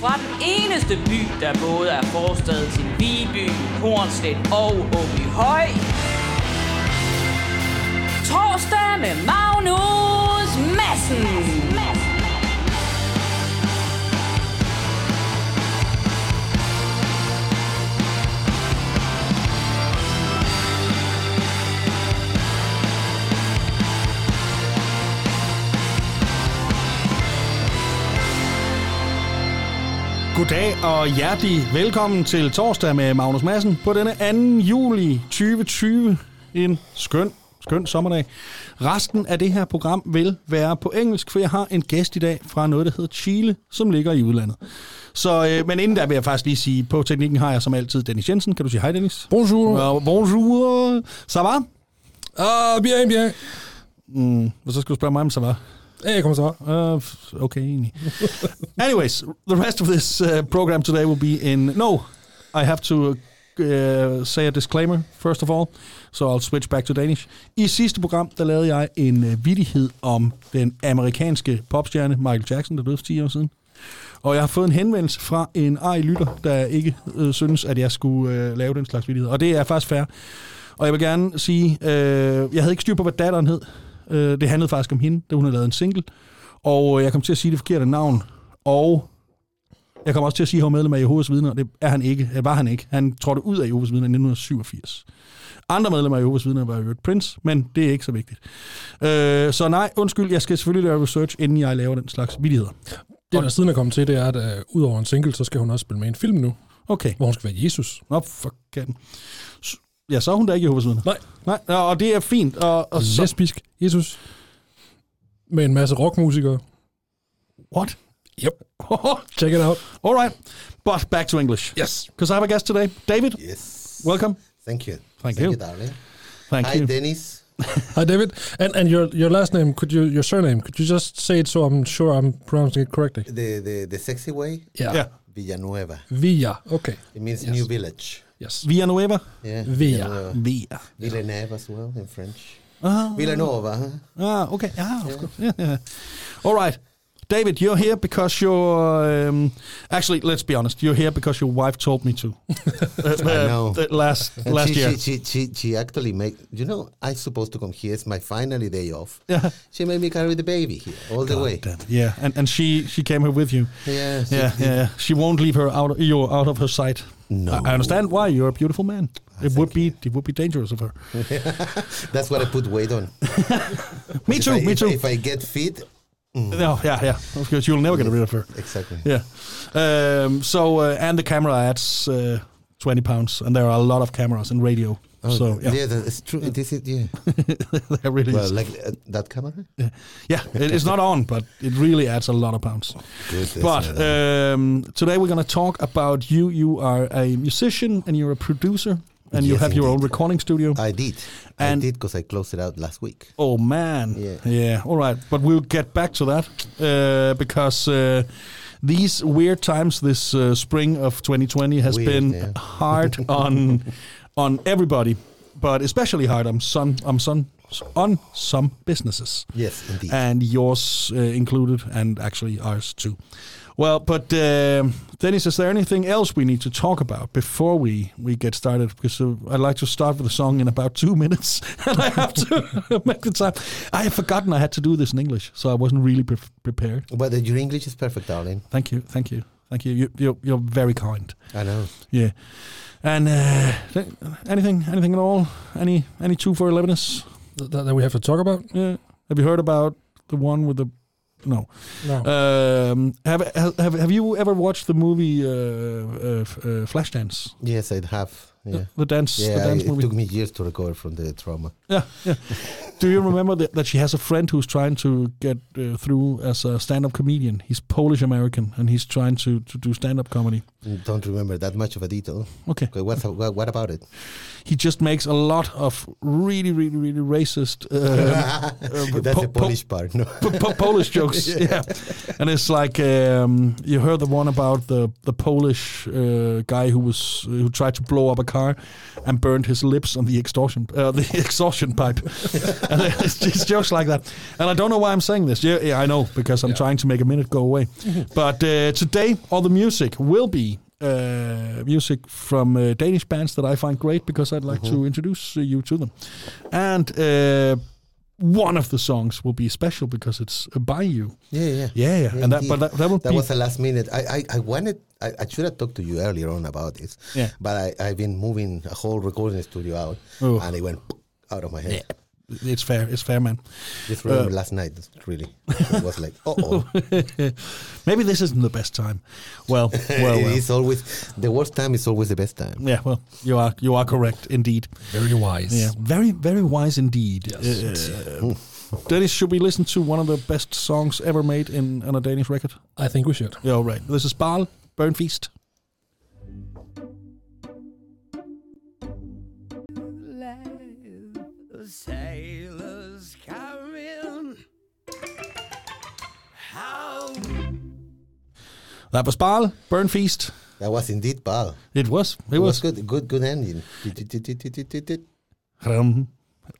Fra den eneste by, der både er forstad til Viby, Hornslet og Åby Høj. Torsdag med Magnus Madsen. Goddag og hjertelig velkommen til torsdag med Magnus Madsen på denne 2. juli 2020. En skøn, skøn sommerdag. Resten af det her program vil være på engelsk, for jeg har en gæst i dag fra noget, der hedder Chile, som ligger i udlandet. Så, øh, men inden der vil jeg faktisk lige sige, på teknikken har jeg som altid Dennis Jensen. Kan du sige hej, Dennis? Bonjour. Uh, bonjour. Ça va? Ah, bien, bien. Og så skal du spørge mig, om ça va. Hey, comment ça va? Uh, f- okay, egentlig. Anyways, the rest of this uh, program today will be in. No, I have to uh, say a disclaimer first of all, so I'll switch back to Danish. I sidste program der lavede jeg en uh, vidighed om den amerikanske popstjerne Michael Jackson, der døde for 10 år siden. Og jeg har fået en henvendelse fra en ej lytter, der ikke øh, synes, at jeg skulle øh, lave den slags vidighed. Og det er faktisk fair. Og jeg vil gerne sige, øh, jeg havde ikke styr på, hvad datteren hed. Øh, det handlede faktisk om hende, da hun havde lavet en single. Og øh, jeg kom til at sige det forkerte navn. Og jeg kom også til at sige, at han var medlem af Jehovas vidner. og Det er han ikke. Det var han ikke. Han trådte ud af Jehovas vidner i 1987. Andre medlemmer af Jehovas vidner var jo Prince, men det er ikke så vigtigt. Øh, så nej, undskyld, jeg skal selvfølgelig lave research, inden jeg laver den slags vidigheder. Det, der siden er kommet til, det er, at uh, udover en single, så skal hun også spille med i en film nu, Okay. hvor hun skal være Jesus. Nå, for katten. S- Ja, så er hun da ikke Jehovas vidner. Nej, Nej, ja, og det er fint. Og, og så, lesbisk Jesus. Med en masse rockmusikere. what? Yep. Check it out. All right. But back to English. Yes. Because I have a guest today. David, Yes. welcome. Thank you. Thank you. you, darling. Thank Hi, you. Dennis. Hi, David. And and your your last name, could you your surname, could you just say it so I'm sure I'm pronouncing it correctly? The, the the sexy way, Yeah. Villanueva. Villa. Okay. It means Yes. new village. Yes. Villanueva. Yeah. Villa. Villanueva. Villa. Villeneuve as well in French. Ah, Villanova. huh? ah, okay. Ah, of course. Yeah, yeah. All right. David, you're here because you're. Um, actually, let's be honest. You're here because your wife told me to. Uh, uh, know. th- last And last she, year. She, she, she, she actually make you know I supposed to come here. It's my finally day off. Yeah. She made me carry the baby here all the way. Oh, Damn, Yeah, and, and she she came here with you. Yeah, she yeah, did. yeah. She won't leave her out of, you out of her sight. No. I, I understand why. You're a beautiful man. it would be it would be dangerous of her. That's what I put weight on. me If too. I- me if- too. If I get fit, no, yeah, yeah. Of course, you'll never get rid of her. exactly. Yeah. Um, so uh, and the camera adds uh, twenty pounds, and there are a lot of cameras and radio. so yeah, Oh, yeah, that- it's true. This is yeah. there really well, is. like uh, that camera. yeah, it, it's not on, but it really adds a lot of pounds. Goodness, But man. um, today we're going to talk about you. You are a musician and you're a producer and you Yes, have your own indeed. recording studio. I did. And- I did because I closed it out last week. oh man, Yeah. All right, but we'll get back to that uh, because uh, these weird times this uh, spring of 2020 has Weird, been yeah. hard on on everybody, but especially hard on some on some on some businesses. Yes, indeed. and yours uh, included, and actually ours too. Well, but um, Dennis, is there anything else we need to talk about before we, we get started? Because uh, I'd like to start with a song in about two minutes, and I have to make the time. I have forgotten I had to do this in English, so I wasn't really pre- prepared. but uh, your English is perfect, darling. Thank you, thank you, thank you. you you're, you're very kind. I know. Yeah. And uh, th- anything, anything at all? Any, any two for elevenness? That, that we have to talk about? Yeah. Have you heard about the one with the? No. No. Um, have, have have you ever watched the movie uh, uh, f- uh, Flashdance? Yes, I have. Yeah. The, the dance, Yeah, the dance it movie. took me years to recover from the trauma. Yeah, yeah. Do you remember that, that she has a friend who's trying to get uh, through as a stand-up comedian? He's Polish American and he's trying to, to do stand-up comedy. Don't remember that much of a detail. Okay. Okay, what's, what, what about it? He just makes a lot of really, really, really racist uh, but That's po- the po- Polish part. No. P- po- Polish jokes, yeah. And it's like um, you heard the one about the the Polish uh, guy who was who tried to blow up a car and burned his lips on the extortion uh, the exhaustion pipe. and it's just jokes like that. And I don't know why I'm saying this. Yeah, yeah I know because I'm trying to make a minute go away. but uh, today, all the music will be. Uh, music from uh, Danish bands that I find great because I'd like to introduce uh, you to them. And uh, one of the songs will be special because it's by you. Yeah, yeah. Yeah, yeah. and that, yeah. but that, that will That be was the last minute. I, I, I wanted, I, I should have talked to you earlier on about this. Yeah. But I, I've been moving a whole recording studio out Oh. and it went out of my head. it's fair, it's fair, man. Just Uh, remember last night, really. It was like, uh oh. Maybe this isn't the best time. Well, well, well. It's always, the worst time is always the best time. yeah. Well, you are you are correct indeed. Very wise. Yeah, very very wise indeed. Uh, Dennis, should we listen to one of the best songs ever made in on a Danish record? I think we should. Yeah, all right. This is Barl Burn Feast. sailors coming. How That was Barl Burn Feast. That was indeed Paul. It was. It, It was. was good, good, good ending. Nineteen Hrum.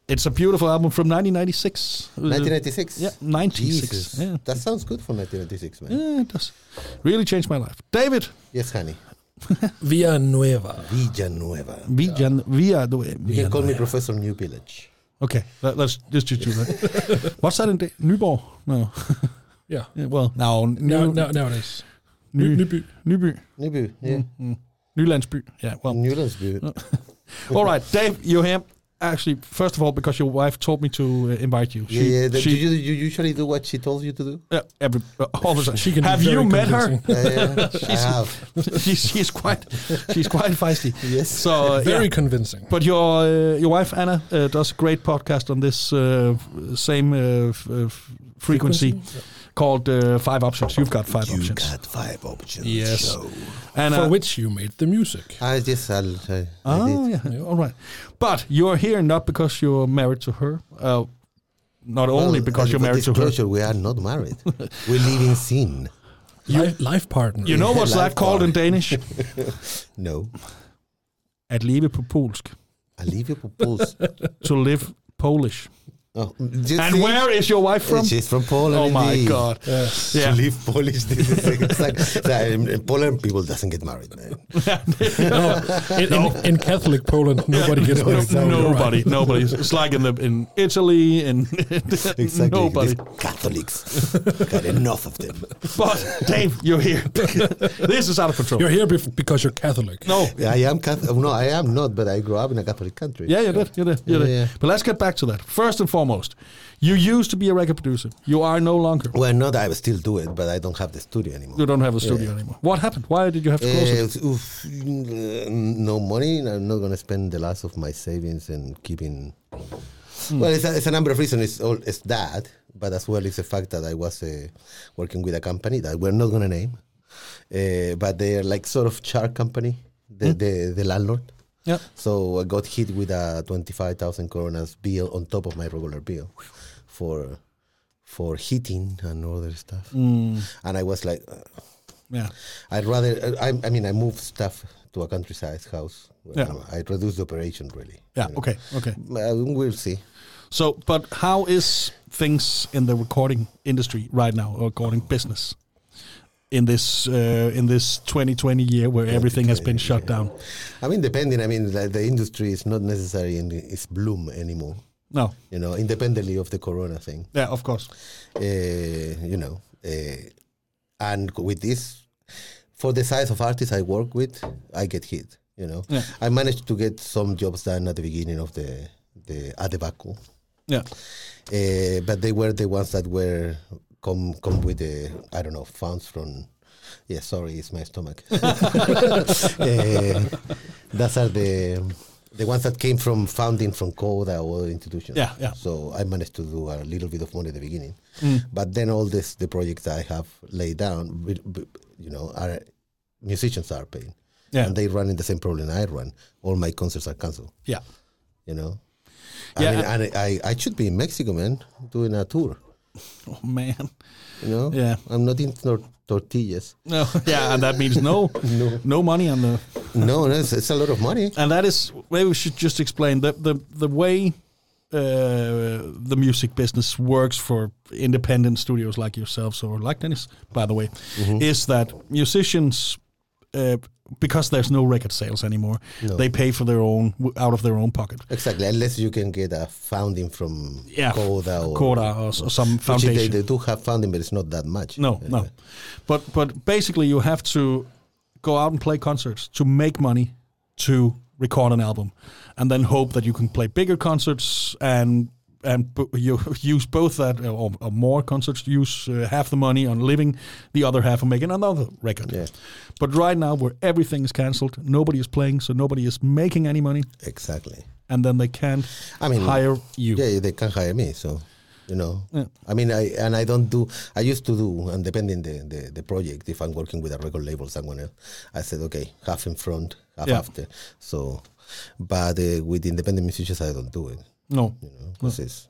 It's a beautiful album from 1996. Uh, ninety-six. Yeah, 96. Jesus, Yeah. that sounds good for nineteen ninety-six, man. Yeah, it does. Really changed my life. David Yes, honey. Via Nueva. Villanueva. Vijan Via the way. You can call me Professor New Village. Okay, let, let's just just do that. What's that in da- Nyborg? No. Yeah. Yeah, well, no. Now, Ny, now, nowadays. Ny, Nyby. Nyby. Nibu, yeah. Mm, Nylandsby. Yeah, well. Newlandsby. All right, Dave, you're here. Actually, first of all, because your wife told me to uh, invite you. Yeah, yeah. that- she, do you, you usually do what she told you to do? yeah, every, uh, all the time. She can be Have you very met her? convincing. Yeah, yeah. I Uh, have. she's, she's quite, she's quite feisty. Yes. So uh, Very yeah. convincing. But your uh, your wife Anna uh, does a great podcast on this uh, f- same uh, f- uh, f- frequency, called uh, Five Options. You've got five options. five options. Yes. And, For uh, which you made the music. I just, I'll, uh, I, I Oh, did. yeah. All right. But you're here not because you're married to her. Uh, not only Well, because and you're for married to her. disclosure, we are not married. we live in sin. life, life partner. You know what's that Life called in Danish? No. At leve på polsk. I leave you for Poles. To live Polish. Oh, you And see? where is your wife from? She's from Poland. Oh my indeed. God. Yeah. To leave Polish. This is exact- that- Poland um, people doesn't get married, man. no, in, in, in Catholic Poland, nobody gets No- married. You're right. nobody, nobody. It's like in the in Italy and Exactly. nobody. These Catholics. Got enough of them. But Dave, you're here. this is out of control. You're here bef- because you're Catholic. no. I am Catholic. No, I am not, but I grew up in a Catholic country. Yeah, you did. You did. You Yeah, did. yeah. But let's get back to that. First and foremost, you used to be a record producer. You are no longer. Well, not I still do it, but I don't have the studio anymore. You don't have a studio anymore. What happened? Why did you have to Uh, close it? it's- oof, mm, no money. and I'm not going to spend the last of my savings and keeping. Well, it's a, it's a number of reasons. It's, all, it's that, but as well, it's the fact that I was uh, working with a company that we're not going to name, uh, but they're like sort of char company, the, the, the landlord. Yeah. So I got hit with a 25,000 coronas bill on top of my regular bill for for heating and other stuff. And I was like, uh, Yeah. I'd rather, I, I mean, I moved stuff to a countryside house. Um, Yeah. I reduced the operation really. Yeah. you know. Okay. Okay. Uh, We'll see. So, but how is things in the recording industry right now, or recording business, in this uh, in this 2020 year where everything has been shut down? I mean, depending, I mean, like, the industry is not necessarily in its bloom anymore, No. you know, independently of the corona thing. Yeah. Of course. uh, you know, uh, and with this, for the size of artists I work with, I get hit. You know, Yeah. I managed to get some jobs done at the beginning of the the Adebaco, Yeah. uh, but they were the ones that were come come with the I don't know funds from. Yeah, sorry, it's my stomach. uh, those are the the ones that came from founding from CODA or other institutions. Yeah, yeah. Mm. So I managed to do a little bit of money at the beginning, but then all this the projects I have laid down, with- with- you know, are musicians are paying, Yeah. and they run in the same problem I run. All my concerts are cancelled Yeah. you know. Yeah, I mean, and I, I should be in Mexico, man, doing a tour. Oh man. You know, Yeah. I'm not into tortillas. No, yeah, and that means no, no, money on the. No, no, it's, it's a lot of money. And that is maybe we should just explain the the the way uh, the music business works for independent studios like yourselves or like Dennis, by the way, Mm-hmm. is that musicians. Uh, because there's no record sales anymore, No. they pay for their own out of their own pocket. Exactly, unless you can get a funding from Yeah, Coda or Coda or, s- or some Which foundation. They, they do have funding, but it's not that much. No, no. But but basically, you have to go out and play concerts to make money to record an album, and then hope that you can play bigger concerts and and b- you use both that uh, or, or more concerts. Use uh, half the money on living, the other half on making another record. Yeah. But right now, where everything is cancelled, nobody is playing, so nobody is making any money, Exactly. and then they can't I mean, hire you. Yeah, they can hire me. So, you know, Yeah. I mean, I and I don't do. I used to do, and depending the the, the project, if I'm working with a record label, someone else, I said, okay, half in front, half Yeah. after. So, but uh, with independent musicians, I don't do it. No, You know, 'cause it's-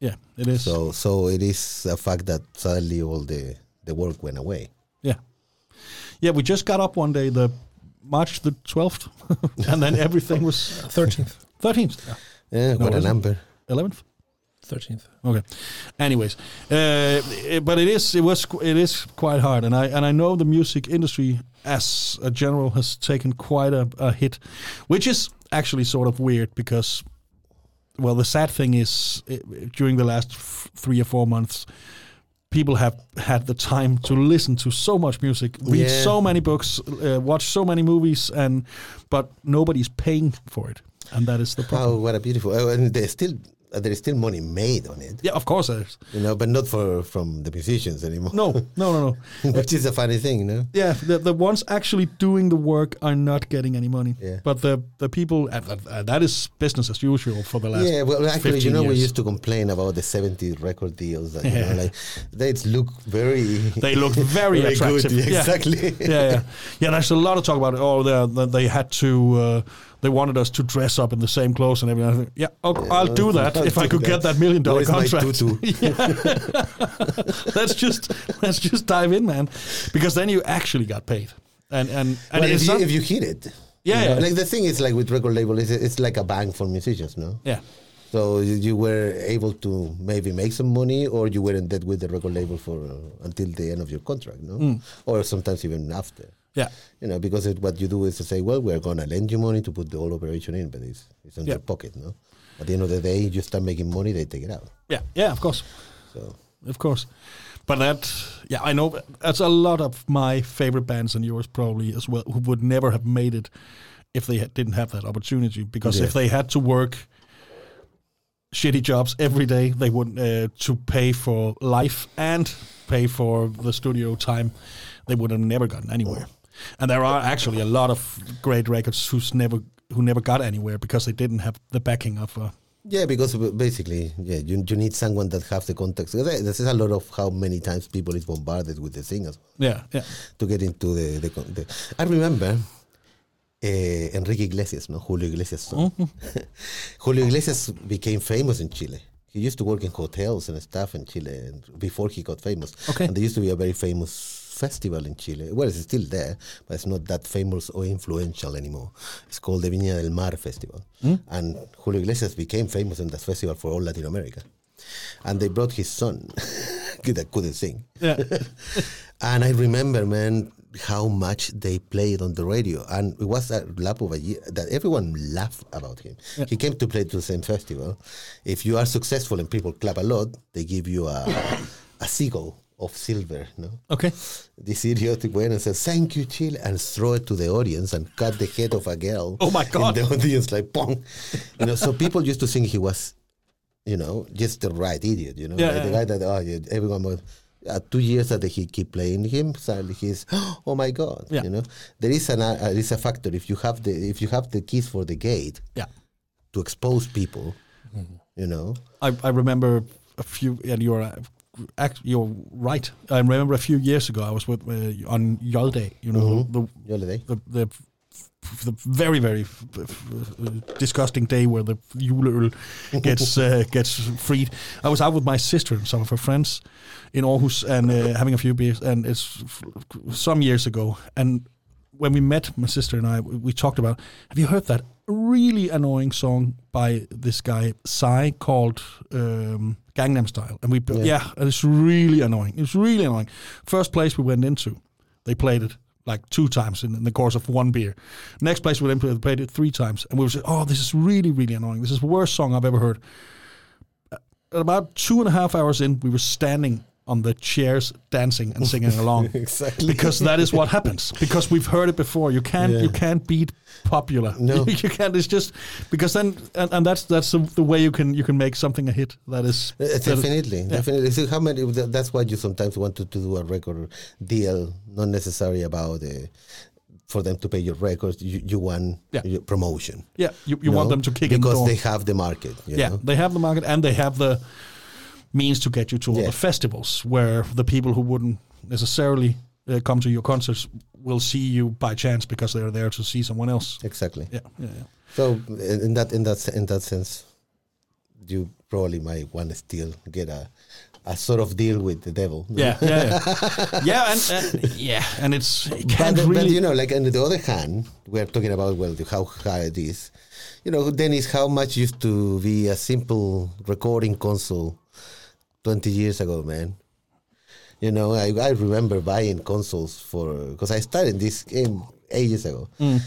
yeah, it is. so so it is a fact that sadly all the the work went away. Yeah. Yeah, we just got up one day, the March the 12th, and then everything was 13th. 13th, Yeah, No, Eh, what isn't a it? number. 11th. 13th. Okay. Anyways, uh, it- but it is it was qu- it is quite hard, and I and I know the music industry as a general has taken quite a, a hit, which is actually sort of weird because, well, the sad thing is i during the last f- three or four months. People have had the time to listen to so much music, read Yeah. so many books, uh, watch so many movies, and but nobody's paying for it, and that is the problem. Oh, what a beautiful! Oh, and there's still there's still money made on it, Yeah, of course there is. you know, but not for from the musicians anymore. No, no, no, no. which is a funny thing, you know. Yeah, the, the ones actually doing the work are not getting any money. Yeah. But the the people uh, uh, uh, that is business as usual for the last. Yeah, well, actually, you 15 know, we years. used to complain about the 70 record deals. That, you know, like they look very, They look very, very attractive. good. Yeah. Exactly. yeah, yeah, yeah. There's a lot of talk about it. Oh, they- they they had to. Uh, they wanted us to dress up in the same clothes and everything. I think, Yeah, I'll, I'll do that I'll if I do could get that. that million dollar Where's my contract. tutu? Yeah. let's just let's just dive in, man, because then you actually got paid. And and and But it's if you, not- if you hit it, Yeah, you know, yeah. Like the thing is, like with record label, it's, it's like a bank for musicians, no? yeah. So you, you were able to maybe make some money, or you were in debt with the record label for uh, until the end of your contract, no? Mm. Or sometimes even after. Yeah. You know, because it, what you do is to say, well, we're going to lend you money to put the whole operation in, but it's, it's in Yeah. your pocket, no? At the end of the day, you start making money, they take it out. Yeah. Yeah, of course. So, of course. But that, yeah, I know that's a lot of my favorite bands and yours probably as well, who would never have made it if they had, didn't have that opportunity. Because Yeah. if they had to work shitty jobs every day, they would uh, to pay for life and pay for the studio time, they would have never gotten anywhere. And there are actually a lot of great records who's never who never got anywhere because they didn't have the backing of. Uh, yeah, because b- basically, yeah, you, you need someone that has the contacts. There- This is a lot of how many times people is bombarded with the thing as well, yeah, yeah, to get into the. the, con- the I remember eh, Enrique Iglesias, no? Julio Iglesias. Song. Mm-hmm. Julio Iglesias became famous in Chile. He used to work in hotels and stuff in Chile and before he got famous. Okay. And there used to be a very famous festival in Chile. Well, it's still there, but it's not that famous or influential anymore. It's called the Viña del Mar Festival. Mm-hmm. And Julio Iglesias became famous in that festival for all Latin America. And they brought his son that couldn't sing. yeah. And I remember, man, how much they played on the radio. And it was a lap of a year that everyone laughed about him. He came to play to the same festival. If you are successful and people clap a lot, they give you a, a seagull of silver, no? Okay. This idiot went and said, thank you, Chile, and throw it to the audience and cut the head of a girl. Oh, my God. In the audience, like, pong. You know, so people used to think he was, you know, just the right idiot, you know? Yeah, like the yeah, guy that, oh, yeah, everyone was, uh, two years after he keep playing him, suddenly he's, oh, my God, Yeah. you know? There is, an, uh, there is a factor. If you have the if you have the keys for the gate Yeah. to expose people, Mm-hmm. you know? I, I remember a few, and you're uh, act, you're right. I remember a few years ago I was with uh, on Yolde, you know, the Yolde. the the f- the very very f- f- uh, disgusting day where the juleøl gets uh, gets freed. I was out with my sister and some of her friends in Aarhus and uh, having a few beers, and it's f- some years ago. And when we met, my sister and I, we we talked about. Have you heard that really annoying song by this guy Psy called um, Gangnam Style? And we, yeah. and it's really annoying. It's really annoying. First place we went into, they played it like two times in, in the course of one beer. Next place we went into, they played it three times, and we were saying, "Oh, this is really, really annoying. This is the worst song I've ever heard." At about two and a half hours in, we were standing on the chairs, dancing and singing along Exactly. because that is what happens. Because we've heard it before. You can't Yeah. you can't beat popular. No. you can't. It's just because then and, and that's that's the, the way you can you can make something a hit. That is Uh, that is- Definitely, definitely. See, how many? tha- That's why you sometimes want to, to do a record deal, not necessarily about uh, for them to pay your records. You, you want Yeah. your promotion. yeah, you, you you want know, them to kick in the because door. they have the market. you yeah, know? they have the market and they have the means to get you to all Yeah. the festivals where the people who wouldn't necessarily uh, come to your concerts will see you by chance because they are there to see someone else. exactly. Yeah, yeah, yeah. So in in that in that se- in that sense, you probably might want to still get a a sort of deal with the devil. Yeah, yeah, yeah, yeah, and, and yeah, and it's it But, can't but, really. you know, like on the other hand, we're talking about well how high it is. You know, then is how much used to be a simple recording console twenty years ago, man. You know, I, I remember buying consoles for because I started this game ages ago, Mm.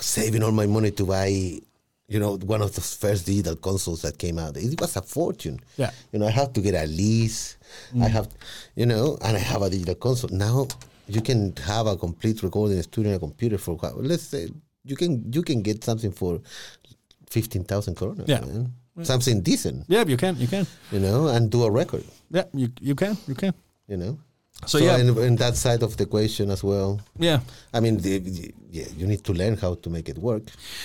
saving all my money to buy. You know, one of those first digital consoles that came out. It was a fortune. Yeah. Mm. You know, I have to get a lease. I have, you know, and I have a digital console. Now you can have a complete recording studio on a computer for what- let's say you can you can get something for fifteen thousand coronas. Yeah. man. Something decent, yeah, you can, you can. you know, and do a record, Yeah, you you can, you can. you know. So, yeah, in, in that side of the equation as well. yeah, I mean, the, the- yeah, you need to learn how to make it work.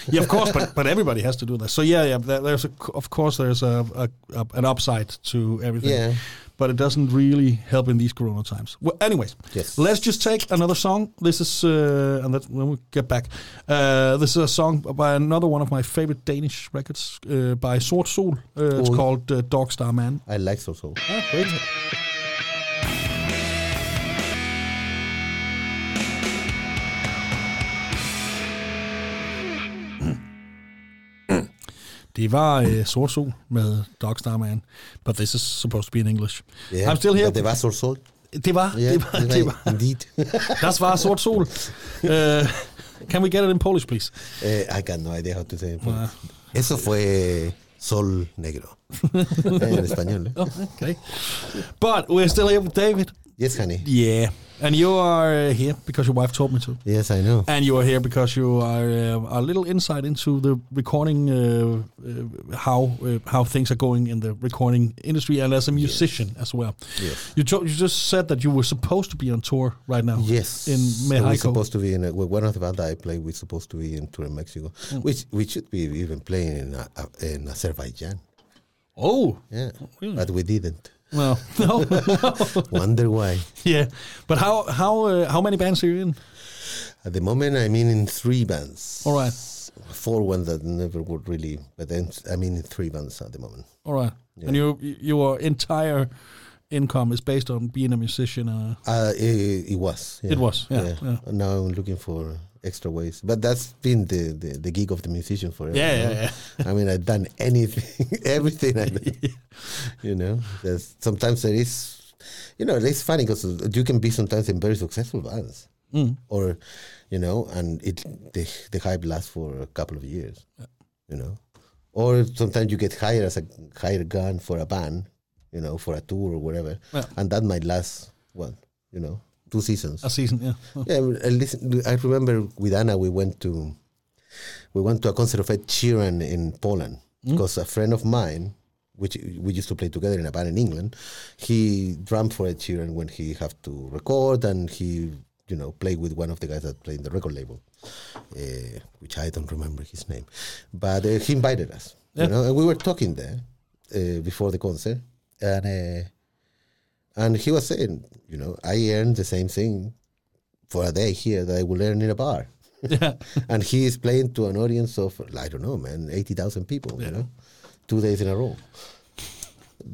yeah. Of course, but but everybody has to do that. So yeah, yeah. there- There's a, of course there's a, a, a an upside to everything. Yeah. But it doesn't really help in these Corona times. Well, anyways, Yes. let's just take another song. This is uh, and that when we get back, uh, this is a song by another one of my favorite Danish records uh, by Sort Sol. Uh, it's Cool. called uh, Dog Star Man. I like so so. Det var uh, Sort Sol med Dog Star Man, but this is supposed to be in English. Yeah, I'm still here. But the bass also. Det var, Yeah, det var, det var. indeed. Das war sort sol. Uh, can we get it in Polish, please? Eh, I got no idea how to say it. Ah. Eso fue Sol Negro. en español. Oh. eh? Okay. But we're still here with David. Yes, honey. Yeah. And you are uh, here because your wife told me to. Yes, I know. And you are here because you are uh, a little insight into the recording, uh, uh, how uh, how things are going in the recording industry, and as a musician as well. Yes. You, jo- you just said that you were supposed to be on tour right now. Yes, In So we're Mexico. supposed to be in a, well, one of the bands I play. We're supposed to be in tour in Mexico, Mm. which we should be even playing in uh, uh, in Azerbaijan. oh. Yeah, Really? but we didn't. Well, no. Wonder why? yeah. But how how uh, how many bands are you in? At the moment, I'm in, in three bands. All right. Four ones that never would really, but then I'm in three bands at the moment. All right. And your your entire income is based on being a musician. Uh, Uh, it, it was. yeah. It was, yeah, yeah. And Now I'm looking for extra ways, but that's been the, the, the gig of the musician forever. Yeah, you yeah, know? yeah. I mean, I've done anything, everything. I done, You know, There's, sometimes there is, you know, it's funny because you can be sometimes in very successful bands, Mm. or, you know, and it the the hype lasts for a couple of years, you know, or sometimes you get hired as a hired gun for a band, you know, for a tour or whatever, Yeah. and that might last what, you know, two seasons. a season, yeah. Oh, Yeah, I listen, I remember with Anna we went to we went to a concert of Ed Sheeran in Poland because a friend of mine, which we used to play together in a band in England, he drummed for Ed Sheeran when he had to record and he you know played with one of the guys that played in the record label, uh, which I don't remember his name, but uh, he invited us. Yeah. You know, and we were talking there uh, before the concert, and uh, and he was saying, you know, I earned the same thing for a day here that I will earn in a bar. yeah. and he is playing to an audience of I don't know, man, eighty thousand people. You know, two days in a row.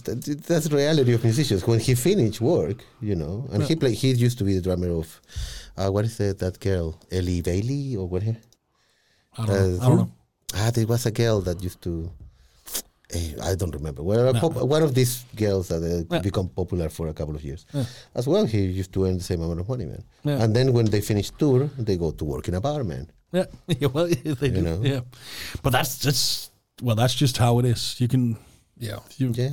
That, that's the reality of musicians. When he finished work, you know, and he play, he used to be the drummer of, uh, what is that, that girl, Ellie Bailey or what? Uh, I don't, know. I don't know. Ah, there was a girl that used to. eh, I don't remember. Well, a pop, one of these girls that uh, Yeah. become popular for a couple of years. As well, he used to earn the same amount of money, man. Yeah. And then when they finish tour, they go to work in a bar, man. Yeah, yeah well, they do. know? Yeah, but that's just well, that's just how it is. You can, yeah, you, Yeah.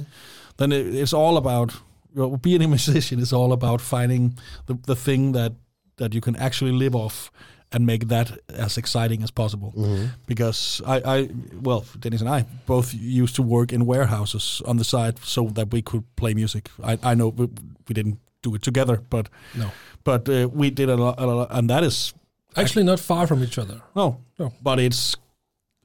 Then it, it's all about well, being a musician. Is all about finding the the thing that that you can actually live off and make that as exciting as possible. Mm-hmm. Because I, I, well, Dennis and I both used to work in warehouses on the side so that we could play music. I, I know we, we didn't do it together, but No. but uh, we did a lot, a lot, and that is Actually, not far from each other. no, Oh. No. Oh, But it's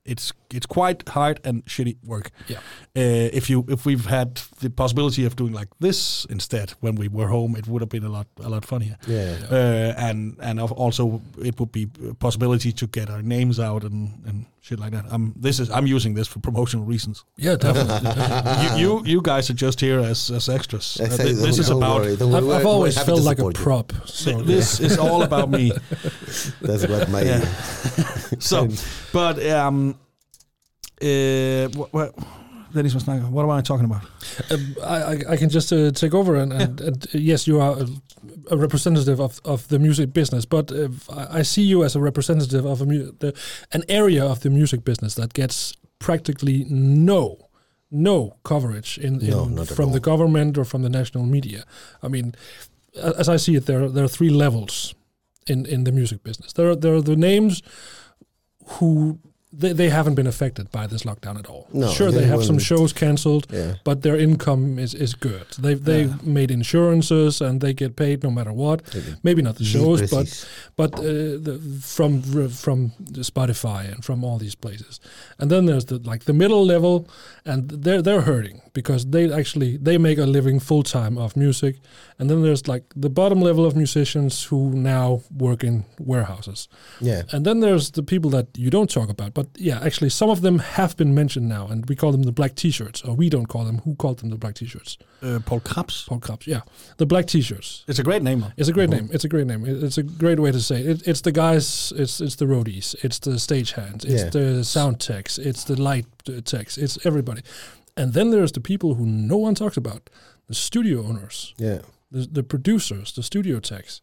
it's it's quite hard and shitty work. Yeah. Uh, if you if we've had the possibility of doing like this instead when we were home, it would have been a lot a lot funnier. Yeah. Uh, and and of- also it would be a possibility to get our names out and, and shit like that. I'm this is I'm using this for promotional reasons. Yeah, definitely. Ah. you, you you guys are just here as as extras. Uh, thi- Exactly. this is Don't about worry. I've, Don't worry. I've We're always happy felt to like a support you. prop. So this is all about me. That's what my. Yeah. So, but um, uh, what, what, Dennis was like, what am I talking about? Um, I, I- I can just uh, take over and, and, and uh, yes, you are a, a representative of, of the music business, but uh, I I see you as a representative of a mu- the, an area of the music business that gets practically no no coverage in, in No, not at from the all. government or from the national media. I mean, a- as I see it, there are, there are three levels in, in the music business. There are, there are the names who they, they haven't been affected by this lockdown at all. No, sure, they they have some weren't. shows cancelled, Yeah. but their income is, is good. They they made insurances and they get paid no matter what. Maybe not the shows, precies. but but uh, the, from from Spotify and from all these places. And then there's the like the middle level, and they're they're hurting because they actually they make a living full time off music. And then there's like the bottom level of musicians who now work in warehouses. Yeah. And then there's the people that you don't talk about. But yeah, actually, some of them have been mentioned now, and we call them the black t shirts, or we don't call them. Who called them the black t shirts? Uh, Paul Kaps. Paul Krabs. Yeah. The black t shirts. It's a great name, though. It's a great name. It's a great name. It- It's a great way to say it. it it's the guys, it's it's the roadies, it's the stagehands, it's Yeah. the sound techs, it's the light uh, techs, it's everybody. And then there's the people who no one talks about the studio owners Yeah. the, the producers, the studio techs,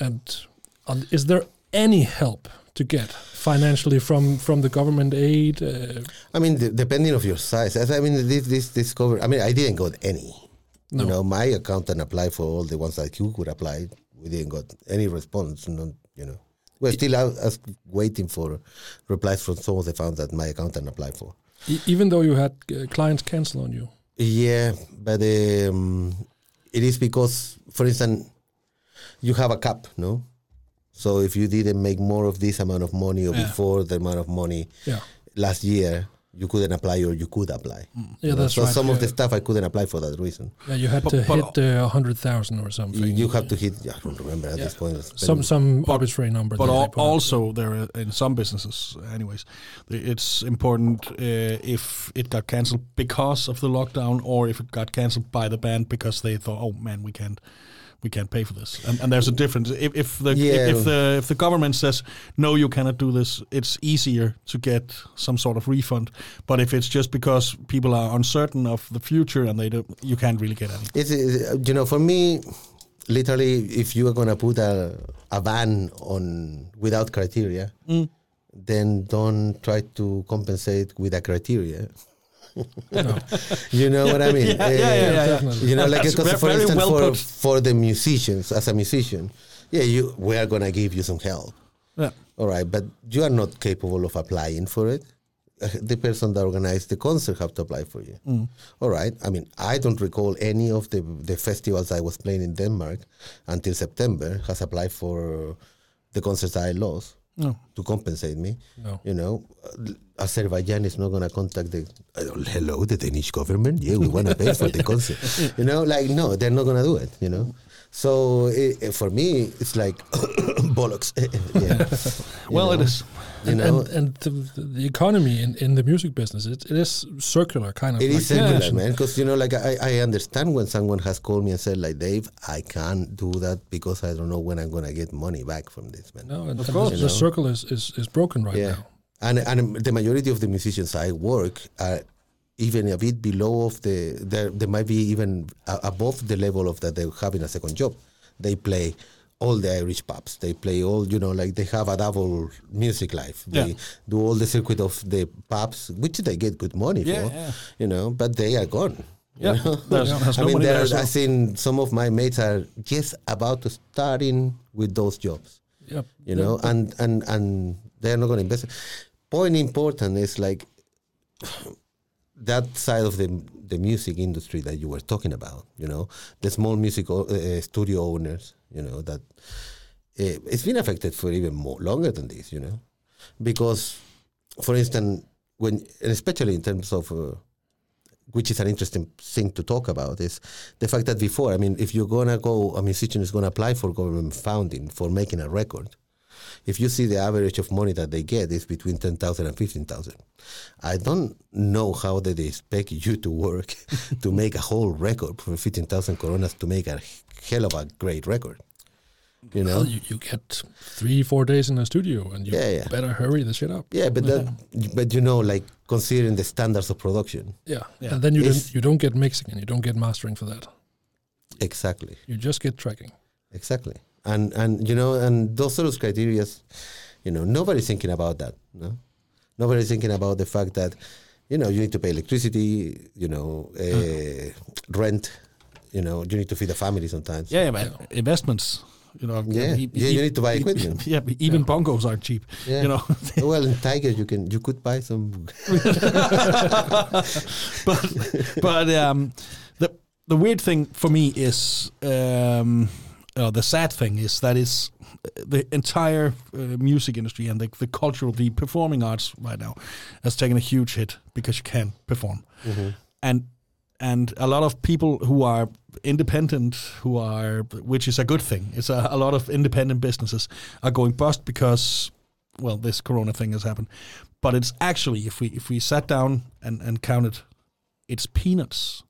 and on, is there any help to get financially from from the government aid? Uh, I mean, de- depending of your size. As I mean, this this this cover. I mean, I didn't got any. No. You know, my accountant applied for all the ones that you could apply. We didn't got any response. No, you know, we're still out, as waiting for replies from some of the funds that my accountant applied for. e- even though you had uh, clients cancel on you, Yeah, but um, it is because, for instance, you have a cap, no? So if you didn't make more of this amount of money or before the amount of money Yeah. last year, you couldn't apply or you could apply. yeah, Hmm. that's so right. some yeah. of the stuff I couldn't apply for that reason. yeah, you had But- to but- hit a hundred thousand or You, something. you have to hit. I don't remember at this point. it's some been- some arbitrary number. But that they al- put out. also, there are, in some businesses, anyways, th- it's important uh, if it got cancelled because of the lockdown, or if it got cancelled by the band because they thought, "Oh man, we can't, we can't pay for this." And, and there's a difference. If, if the Yeah. if, if the if the government says no, you cannot do this, it's easier to get some sort of refund. But if it's just because people are uncertain of the future and they don't, you can't really get any. It's, it's- uh, you know, for me, literally, if you are gonna put a a ban on without criteria, Mm. then don't try to compensate with a criteria. you know what I mean? Eh, yeah, yeah, yeah, yeah. Definitely. You know, like That's because ve- for very instance, well for, put. for the musicians, as a musician, yeah, you we are gonna give you some help. Yeah. All right, but you are not capable of applying for it. Uh, The person that organized the concert have to apply for you. Mm. All right. I mean, I don't recall any of the the festivals I was playing in Denmark until September has applied for the concerts I lost to compensate me. No. You know, Uh, Azerbaijan is not going to contact the uh, hello the Danish government. Yeah, we want to pay for the concert. You know, like no, they're not going to do it. You know, So eh, eh, for me, it's like bollocks. yeah. Well, know. it is. You know, and and the, the economy in, in the music business it, it is circular kind of It like is circular, fashion. man. Because you know, like I, I understand when someone has called me and said, like, Dave, I can't do that because I don't know when I'm gonna get money back from this, man. no and, Of and course. the, You know. the circle is, is, is broken right yeah. now And and the majority of the musicians I work are even a bit below of the they they might be even a- above the level of that they have in a second job. They play all the Irish pubs. They play all you know like they have a double music life. They Yeah. do all the circuit of the pubs, which they get good money Yeah, for. yeah. You know, but they are gone. Yeah, there's, there's I mean, nobody there there. are, so- I've seen some of my mates are just about to start in with those jobs, yep you know, and and and they're not going to invest. Point important is like that side of the the music industry that you were talking about, you know, the small music o- uh, studio owners, you know, that uh, it's been affected for even more longer than this, you know, because, for instance, when and especially in terms of uh, which is an interesting thing to talk about is the fact that before, I mean, if you're gonna go, a musician is gonna apply for government funding for making a record. If you see the average of money that they get is between ten thousand and fifteen thousand, I don't know how they expect you to work to make a whole record for fifteen thousand coronas to make a hell of a great record. You know, well, you, you get three four days in the studio and you Yeah, yeah. better hurry the shit up Yeah, but that, but you know, like considering the standards of production, yeah, Yeah. and then you It's- don't you don't get mixing and you don't get mastering for that exactly, you just get tracking exactly, and and you know, and those sort of criteria, you know, nobody's thinking about that. No, nobody's thinking about the fact that, you know, you need to pay electricity, you know, uh, rent, you know, you need to feed a family sometimes. Mm-hmm. yeah, man. Investments. You know. Yeah, e- yeah, e- you need to buy e- equipment. Yeah, but even bongos aren't cheap. Yeah. You know. well, in Tiger, you can you could buy some. but but um, the the weird thing for me is um, uh, the sad thing is that it's the entire uh, music industry and the, the cultural the performing arts right now has taken a huge hit because you can't perform and and a lot of people who are independent who are which is a good thing it's a, a lot of independent businesses are going bust because well this corona thing has happened but it's actually if we if we sat down and and counted it's peanuts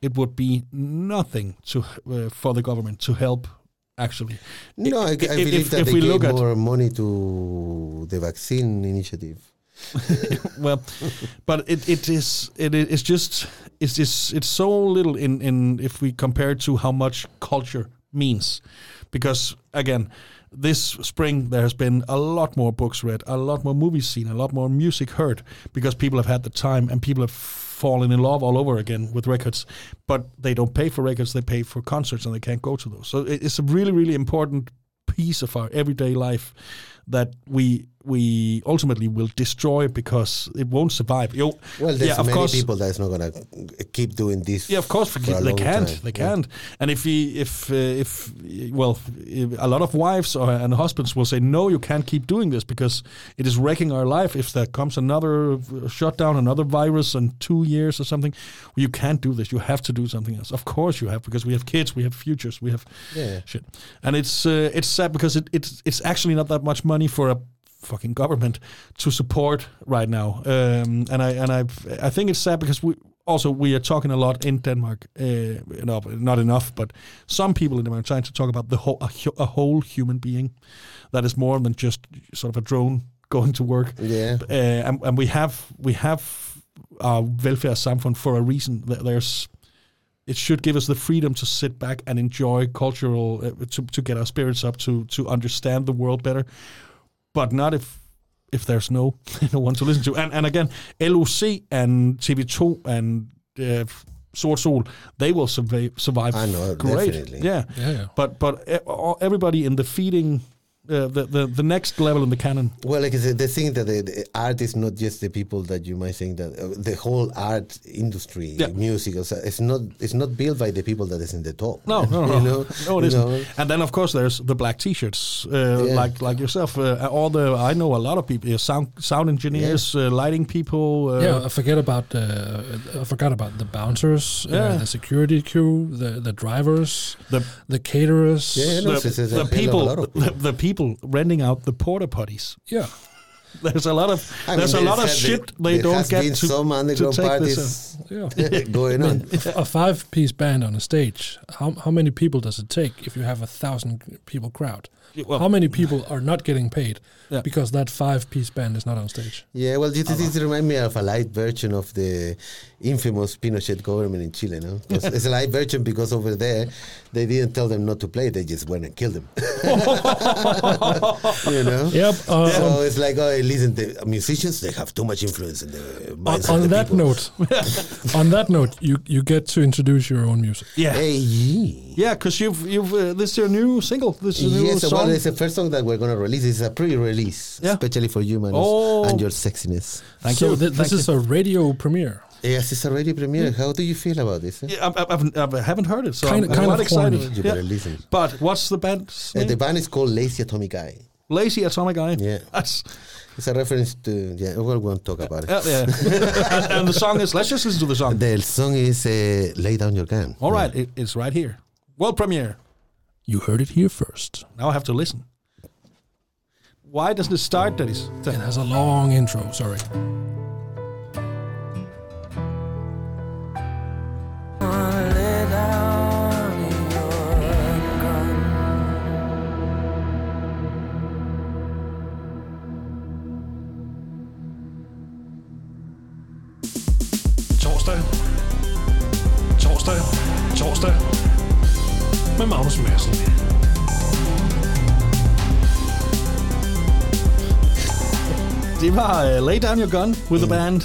it would be nothing to uh, for the government to help actually No, I, I If- believe if- that if they we gave look at- more money to the vaccine initiative. well but it, it is it is it's just it's just it's so little in in if we compare to how much culture means because again this spring there has been a lot more books read a lot more movies seen a lot more music heard because people have had the time and people have fallen in love all over again with records but they don't pay for records they pay for concerts and they can't go to those so it, it's a really really important piece of our everyday life that we we ultimately will destroy because it won't survive. You Well, there's yeah, of many course. people that's not gonna keep doing this. Yeah, of course, for a they long can't. time. They Yeah. can't. And if he, if uh, if uh, well, if a lot of wives or, and husbands will say, "No, you can't keep doing this because it is wrecking our life." If there comes another shutdown, another virus, in two years or something, you can't do this. You have to do something else. Of course, you have because we have kids, we have futures, we have Yeah. shit. And it's uh, it's sad because it, it's it's actually not that much money for a fucking government to support right now. Um, and I and I I think it's sad because we also we are talking a lot in Denmark. Uh, no, not enough, but some people in Denmark are trying to talk about the whole a, hu- a whole human being that is more than just sort of a drone going to work Yeah. uh, and, and we have we have our velfærdssamfund for a reason. Th- There's it should give us the freedom to sit back and enjoy cultural uh, to to get our spirits up to to understand the world better, but not if if there's no no one to listen to. And and again, LOC and TV2 and uh, Sort Sol, they will survive survive I know, great. definitely. Yeah. yeah yeah But but e- all- everybody in the feeding uh, the, the the next level in the canon. Well, like I said, the thing that the, the art is not just the people that you might think that uh, the whole art industry, Yeah. music, also, it's not it's not built by the people that is in the top. No, no, no, you know, no, it You isn't. know? And then, of course, there's the black T-shirts, uh, Yeah. like like yourself. Uh, all the I know a lot of people, uh, sound sound engineers, uh, lighting people. Uh, yeah, I forget about uh, I forgot about the bouncers, Yeah. uh, the security crew, the the drivers, The the caterers. Yeah, no. the, it's- it's a the hell of a people, lot of the, the people renting out the porta potties. yeah. There's a lot of I mean, there's a lot of had- shit there they don't has get been to, some to underground take this. uh, parties yeah. going on. a five piece band on a stage, how, how many people does it take if you have a thousand people crowd? Yeah, well- how many people are not getting paid Yeah. because that five piece band is not on stage? Yeah, well, this, this reminds me of a light version of the infamous Pinochet government in Chile, no? 'Cause it's a light version because over there, they didn't tell them not to play, they just went and killed them. you know? Yep. Uh, so it's like, oh, listen, the musicians, they have too much influence in the on, minds on of the that people. note, on that note, you, you get to introduce your own music. Yeah, Hey, yeah. yeah, because you've you've uh, this is your new single. This is your new Yes, well, song. it's the first song that we're going to release. It's a pre-release, Yeah. especially for you, Manos, Oh. and your sexiness. Thank so you. thi- this Thank is a radio premiere. Yes, it's already premiere. Mm. How do you feel about this? eh? Yeah, I, I, I've, I haven't heard it, so Kind- I'm, kind not of corny. excited. You Yeah. better listen. But what's the band's Uh, name? the band is called Lazy Atomic Eye. Lazy Atomic Eye. Yeah. That's, It's a reference to yeah. Well, we won't talk about it. yeah, yeah. and, and the song is. Let's just listen to the song. The song is uh, "Lay Down Your Gun." All right, it, it's right here. World premiere. You heard it here first. Now I have to listen. Why doesn't it start? That is. It has a long intro, sorry. Torsdag. Torsdag. Torsdag. Med Magnus Madsen. Det var uh, Lay Down Your Gun with the Mm. band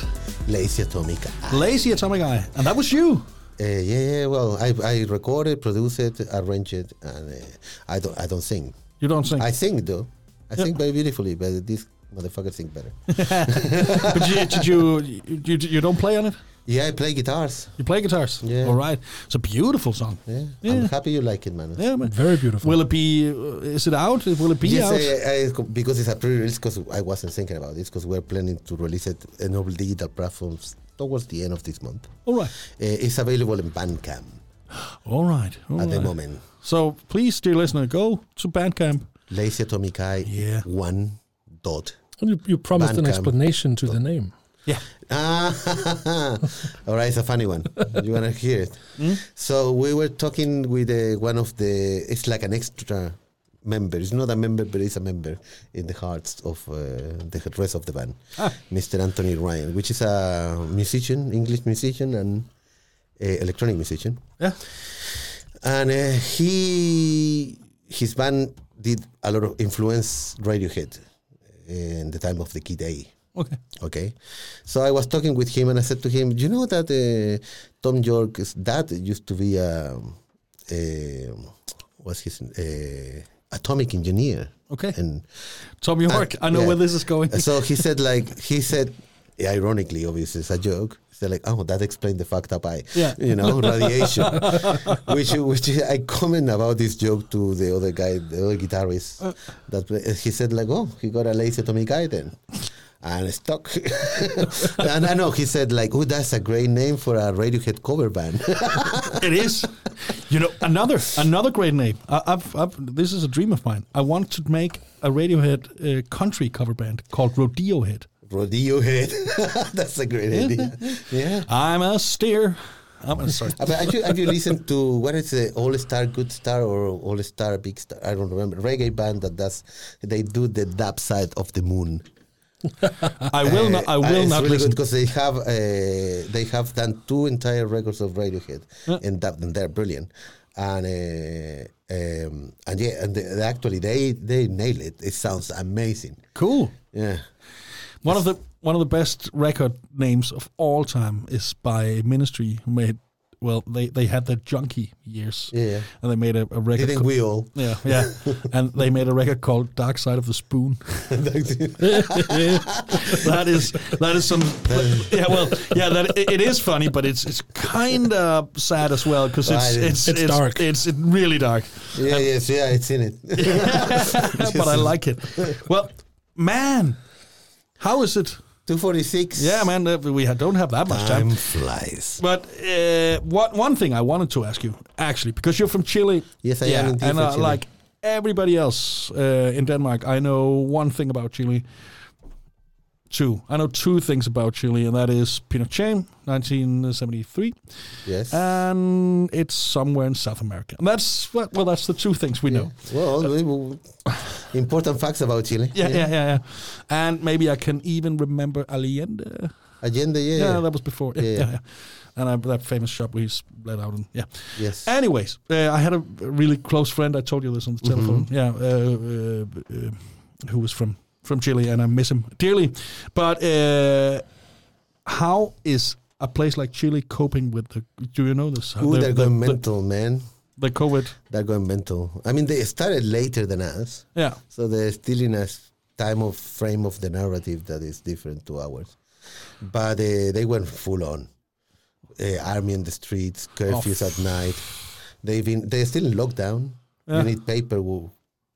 Lazy Atomic. Eye. Lazy Atomic Eye, and that was you. Uh, yeah, yeah. Well, I, I recorded, produced it, arranged it, and uh, I don't I don't sing. You don't sing, I sing though. I sing very beautifully, but this motherfucker sing better. but you, did you, you you don't play on it. yeah, I play guitars. You play guitars. Yeah. All right. It's a beautiful song. Yeah. Yeah. I'm happy you like it, man. Yeah, man. Very beautiful. Will it be? Uh, is it out? Will it be Yes, out? eh, I, I, because it's a pre-release. Because I wasn't thinking about this. Because we're planning to release it in all digital platforms towards the end of this month. all right. Uh, it's available in Bandcamp All right. all at the right. moment. So please, dear listener, go to Bandcamp. Lazy Atomic Eye Yeah. one dot. You, you promised an Bandcamp. explanation to the name. Yeah. Ah, all right, it's a funny one. You wanna hear it? So we were talking with uh, one of the. It's like an extra member. It's not a member, but it's a member in the hearts of uh, the rest of the band, Mr. Anthony Ryan, which is a musician, English musician, and uh, electronic musician. Yeah. and uh, he his band did a lot of influence Radiohead uh, in the time of the Kid A. Okay. Okay, so I was talking with him and I said to him, "You know that uh, Tom York's dad used to be a, um, a what's his uh atomic engineer." Okay. and Tom York, I know Uh, yeah. where this is going. so he said, like, he said, ironically, obviously, it's a joke. He said, like, oh, that explained the fucked up eye, Yeah. you know, radiation. which, which I comment about this joke to the other guy, the other guitarist. Uh. That play- he said, like, oh, he got a lazy atomic eye then. And stuck. and I know he said, like, oh, that's a great name for a Radiohead cover band. it is. You know, another another great name. I, I've, I've this is a dream of mine. I want to make a Radiohead uh, country cover band called Rodeohead. Rodeo Head. that's a great idea. Yeah. I'm a steer. I'm a, sorry. Uh, But have you, have you listened to what is the All Star Good Star or All Star Big Star? I don't remember reggae band that does. They do the dub side of the moon. I will not. I Uh, will it's not really listen. because they have uh, they have done two entire records of Radiohead Yeah. and dubbed, and they're brilliant. And uh, um, and yeah, and they, they actually they they nail it. It sounds amazing. Cool. Yeah. One of the one of the best record names of all time is by a ministry who made well, they, they had their junkie years, Yeah. and they made a, a record. Didn't co- we all? yeah, yeah, and they made a record called "Dark Side of the Spoon." that is that is some yeah well yeah that it, it is funny but it's it's kind of sad as well because it's Right. it's, It's dark. it's really dark yeah, yes, yeah, it's in it. but I like it well man how is it 246. yeah man uh, we ha- don't have that much time Time flies. but uh, what one thing I wanted to ask you actually because you're from Chile Yes, I am yeah indeed and from uh, Chile. like everybody else uh, in Denmark I know one thing about Chile. Two. I know two things about Chile, and that is Pinochet, 1973, Yes. Uh, and it's somewhere in South America. And that's well, well that's the two things we know. well, we- we- important facts about Chile. Uh, Yeah, yeah, yeah, yeah. And maybe I can even remember Allende. Agenda, yeah. Yeah, yeah. that was before. Yeah, Yeah. yeah, yeah. And I, that famous shop we let out in. Yeah. Yes. Anyways, uh, I had a really close friend. I told you this on Mm-hmm. the telephone. Yeah, uh, uh, uh, who was from from Chile, and I miss him dearly. But uh, how is a place like Chile coping with the? Do you know this? Ooh, the, they're the, going the, mental, man. the COVID. They're going mental. I mean, they started later than us, Yeah, so they're still in a s- time of frame of the narrative that is different to ours. But uh, they went full on. Uh, army in the streets, curfews at night. They've been. They're still in lockdown. Yeah. You need paper. wo-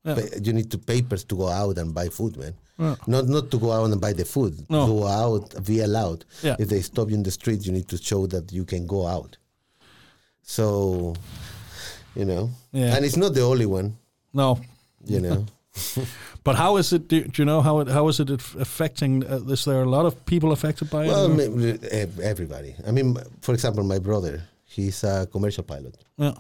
Yeah. pa- you need to papers to go out and buy food, man. Yeah. Not not to go out and buy the food. No. Go out, be allowed. Yeah. If they stop you in the street, you need to show that you can go out. So, you know, Yeah. and it's not the only one. no. You know, But how is it? Do, do you know how it? How is it aff- affecting? Uh, is there a lot of people affected by well, it? or- ma- ev- everybody. I mean, for example, my brother. He's a commercial pilot. yeah.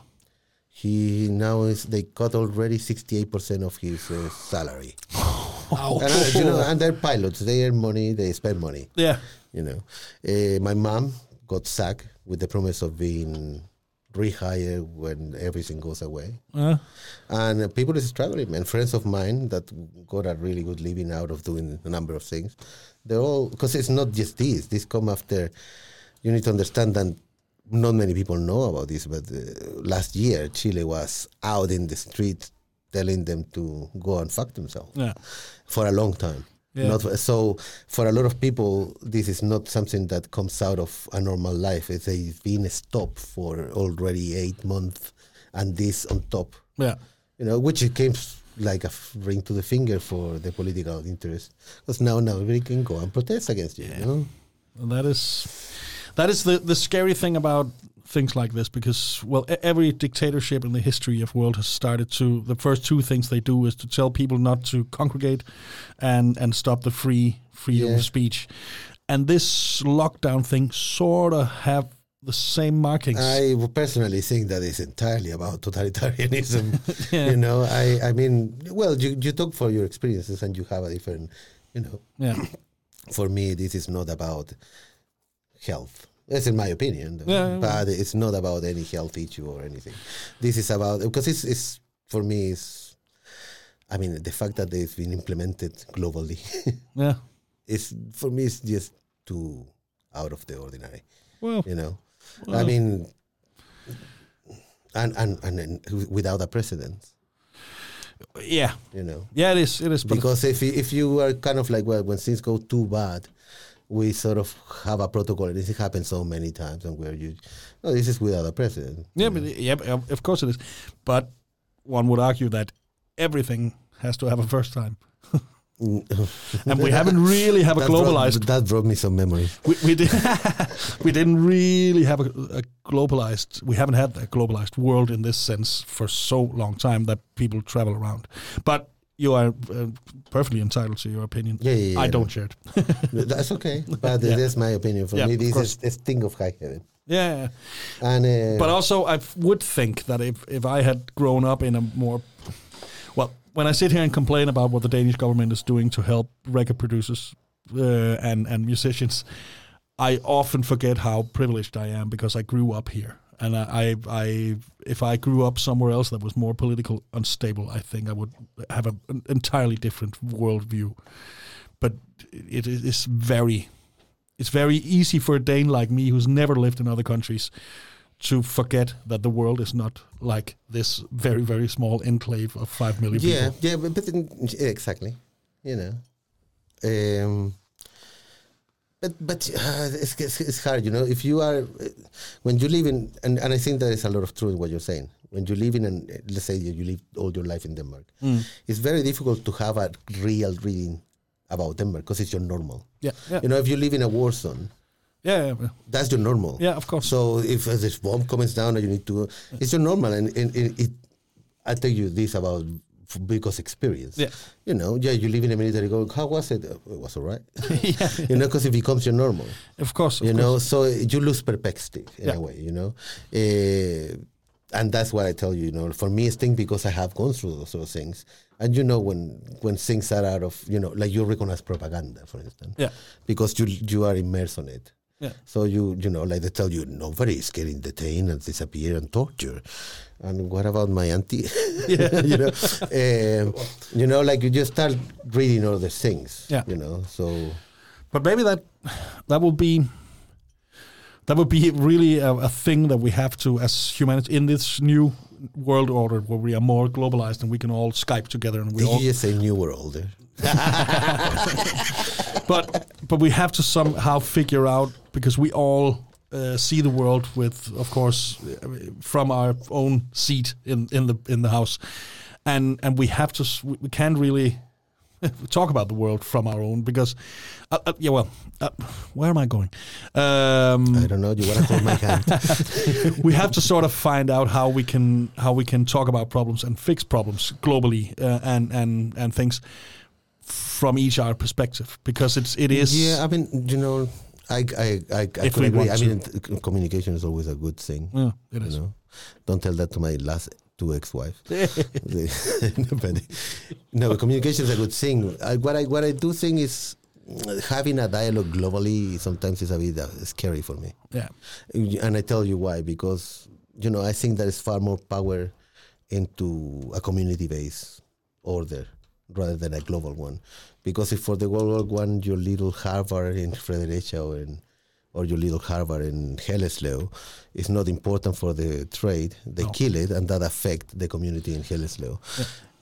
He now is they cut already sixty eight percent of his uh, salary. And, uh, you know, and they're pilots. They earn money. They spend money. yeah, you know. Uh, my mom got sacked with the promise of being rehired when everything goes away. yeah, And uh, people is struggling, and friends of mine that got a really good living out of doing a number of things, they're all because it's not just this. This come after. You need to understand that not many people know about this, but uh, last year Chile was out in the street telling them to go and fuck themselves yeah, for a long time. Yeah. Not for- so for a lot of people, this is not something that comes out of a normal life. It's a, been stopped for already eight months, and this on top, yeah, you know, which it came s- like a f- ring to the finger for the political interest. Because now, now everybody can go and protest against you. You know, And that is that is the the scary thing about things like this because well e- every dictatorship in the history of world has started to the first two things they do is to tell people not to congregate and and stop the free freedom Yeah. of speech and this lockdown thing sort of have the same markings I w- personally think that it's entirely about totalitarianism. Yeah. You know, I, I mean, well, you, you talk for your experiences, and you have a different, you know, yeah for me, this is not about health. That's in my opinion, though. Yeah, yeah, but it's not about any health issue or anything. This is about because it's, it's for me is, I mean, the fact that it's been implemented globally yeah is for me is just too out of the ordinary. well You know, I mean, and and and then without a precedent, yeah you know. yeah it is it is but because if you- if you are kind of like well when things go too bad we sort of have a protocol and this has happened so many times and where you no this is without a precedent Yeah, but yeah, but, um, of course it is. But one would argue that everything has to have a first time, and we haven't really have a That brought- globalized. that brought me some memories We, we, did, we didn't really have a, a globalized. We haven't had a globalized world in this sense for so long time that people travel around. But you are uh, perfectly entitled to your opinion. Yeah, yeah, yeah, I yeah. don't share it. No, that's okay but Yeah. that's my opinion for Yeah, me of this course. is a thing of high heaven yeah. yeah. and uh, But also, I f- would think that if, if I had grown up in a more well, when I sit here and complain about what the Danish government is doing to help record producers uh, and and musicians, I often forget how privileged I am because I grew up here. And I, I, I, if I grew up somewhere else that was more political unstable, I think I would have a, an entirely different worldview. But it is it's very, it's very easy for a Dane like me who's never lived in other countries to forget that the world is not like this very very small enclave of five million yeah, people. yeah, but, but then- yeah, exactly. You know, um, but but uh, it's, it's it's hard. You know, if you are uh, when you live in and, and I think there is a lot of truth in what you're saying. When you live in and let's say you live all your life in Denmark, Mm. it's very difficult to have a real reading about Denmark because it's your normal. Yeah, yeah, You know, if you live in a war zone, yeah, yeah, that's your normal. yeah. Of course. So if uh, this bomb comes down and you need to, it's your normal. And, and, and it, I tell you this about f- because experience. Yeah. You know, yeah, you live in a military go, how was it? Uh, It was all right. You know, because it becomes your normal. of course. Of you course. know, so you lose perspective in Yeah. a way, you know. Uh, and that's what I tell you, you know, for me it's thing because I have gone through those, those things. And you know when when things are out of you know, like you recognize propaganda, for instance. Yeah. Because you you are immersed on it. Yeah. So you you know, like they tell you nobody is getting detained and disappeared and tortured. And what about my auntie? you know, um, you know, like you just start reading all these things. Yeah. You know, so but maybe that that would be that would be really a, a thing that we have to as humanity in this new world order where we are more globalized and we can all Skype together and we did all you just say new world eh? there? but but we have to somehow figure out because we all uh, see the world with, of course, I mean, from our own seat in in the in the house, and and we have to s- we we can't really talk about the world from our own because, uh, uh, yeah, well, uh, where am I going? Um, I don't know. Do you want to hold my hand? we have to sort of find out how we can how we can talk about problems and fix problems globally uh, and and and things from each our perspective because it's it is Yeah, I mean, you know, I I I, I If we could agree. want I to. Mm. mean, t- communication is always a good thing. Yeah, it is. You know, don't tell that to my last two ex-wife. no, but- no, but communication is a good thing. I, what I what I do think is mm, having a dialogue globally sometimes is a bit uh, scary for me, Yeah, and I tell you why because you know I think there is far more power into a community-based order rather than a global one. Because if for the global one, your little Harvard in Fredericia or in, or your little Harvard in Helleslev is not important for the trade, they kill it and that affect the community in Helleslev.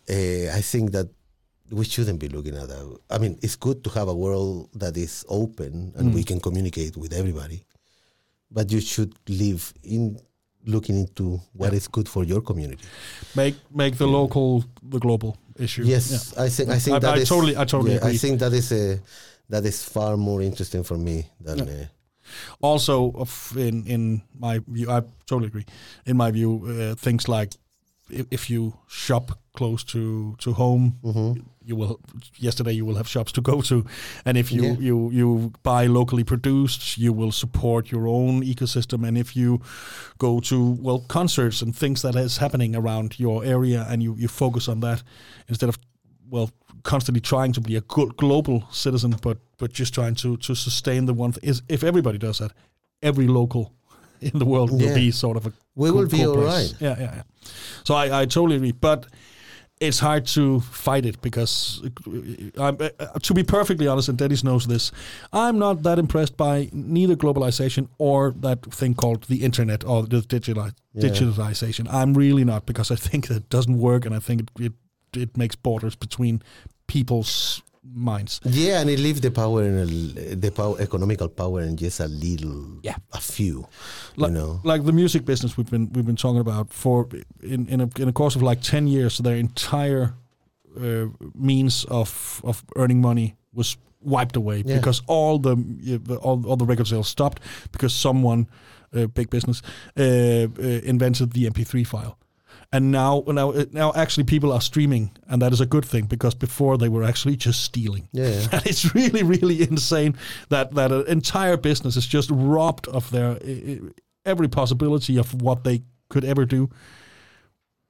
Eh, I think that we shouldn't be looking at that. I mean, it's good to have a world that is open and we can communicate with everybody, but you should live in looking into what is good for your community. make make the local the global issue. Yes, I think I think I- that I is- totally- I totally yeah, I agree. think that is a that is far more interesting for me than uh, Yeah. Also, of in in my view, I totally agree. In my view, uh, things like if, if you shop close to to home, Mm-hmm. you will. Yesterday, you will have shops to go to, and if you Yeah. you you buy locally produced, you will support your own ecosystem. And if you go to well concerts and things that is happening around your area, and you you focus on that instead of well constantly trying to be a glo- global citizen, but but just trying to to sustain the one. Th- is if everybody does that, every local in the world will Yeah. be sort of a We will be all place. right. Yeah, yeah, yeah. So I I totally agree, but. It's hard to fight it because, uh, I'm, uh, uh, to be perfectly honest, and Dennis knows this, I'm not that impressed by neither globalization or that thing called the internet or the digitali- Yeah. digitalization. I'm really not because I think that it doesn't work and I think it, it it makes borders between people's minds. yeah, and it leaves the power in a, l- the power economical power in just a little, Yeah. a few, Like, you know. like the music business we've been we've been talking about for in in a, in a course of like ten years, their entire uh, means of of earning money was wiped away Yeah. because all the uh, the- all, all the record sales stopped because someone uh, big business uh, uh, invented the MP3 file. And now, now, uh, now, actually, people are streaming, and that is a good thing because before they were actually just stealing. Yeah, yeah. and it's really, really insane that that an entire business is just robbed of their uh, uh, every possibility of what they could ever do,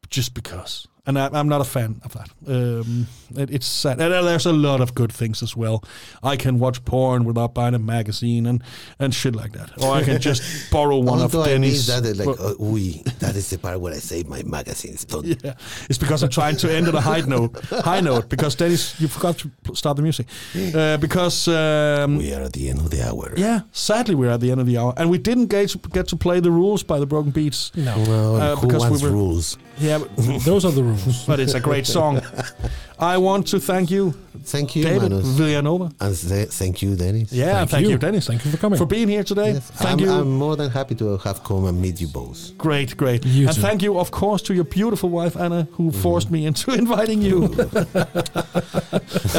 just because. And I, I'm not a fan of that. Um, it, it's sad. And uh, there's a lot of good things as well. I can watch porn without buying a magazine and and shit like that, or I can just borrow one of Although I miss Denny's. that, uh, like, Well, uh, we that is the part where I save my magazines. Don't yeah, it's because I'm trying to end on a high note. High note because Dennis, you forgot to pl- start the music uh, because um, We are at the end of the hour. yeah, sadly we're at the end of the hour and we didn't get get to play the rules by the Broken Beats. No, Well, Uh, who because we wants were- rules? Yeah, but, those are the rules. but it's a great song. I want to thank you, Thank you, David Manus. Villanova. and th- thank you, Dennis. Yeah, thank, you. Dennis, Thank you for coming. for being here today. Yes, Thank I'm, you. I'm more than happy to have come and meet you both. Great, great. You and too. thank you, of course, to your beautiful wife, Anna, who Mm-hmm. forced me into inviting you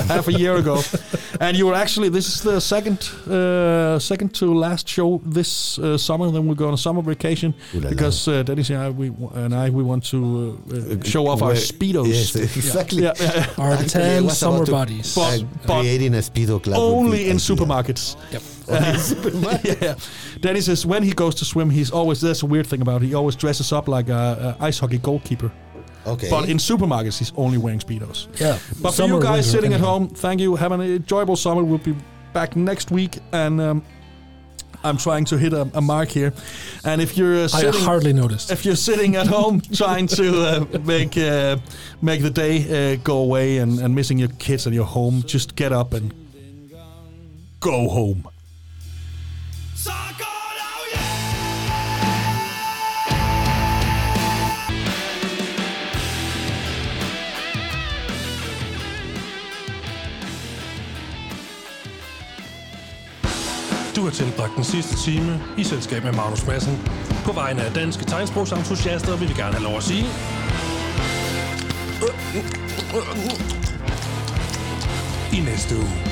half a year ago. And you were actually, this is the second uh, second to last show this uh, summer. Then we go on a summer vacation Ooh la la. because uh, Dennis and I, we, w- and I, we want to uh, uh, show off our Where- Speedos. Yes, exactly. Yeah, yeah, yeah. Our Actually, I 10 was about summer to- bodies. But- Uh, creating a speedo club would Only be in ideal. supermarkets. Yep. yeah. Dennis says when he goes to swim, he's always, there's a weird thing about it, he always dresses up like a, a ice hockey goalkeeper. Okay. But in supermarkets, he's only wearing Speedos. yeah. But Eh? for Summer, you guys winter, sitting at anyhow. home, thank you. Have an enjoyable summer. We'll be back next week. And um, I'm trying to hit a, a mark here. And if you're uh, I sitting. hardly noticed. if you're sitting at home trying to uh, make uh, make the day uh, go away and, and missing your kids at your home, just get up and go home. So go now, yeah! Du har tilbragt den sidste time i selskab med Magnus Madsen. På vegne af danske tegnsprogsentusiaster vil vi gerne have lov at sige... Øh, I næste uge.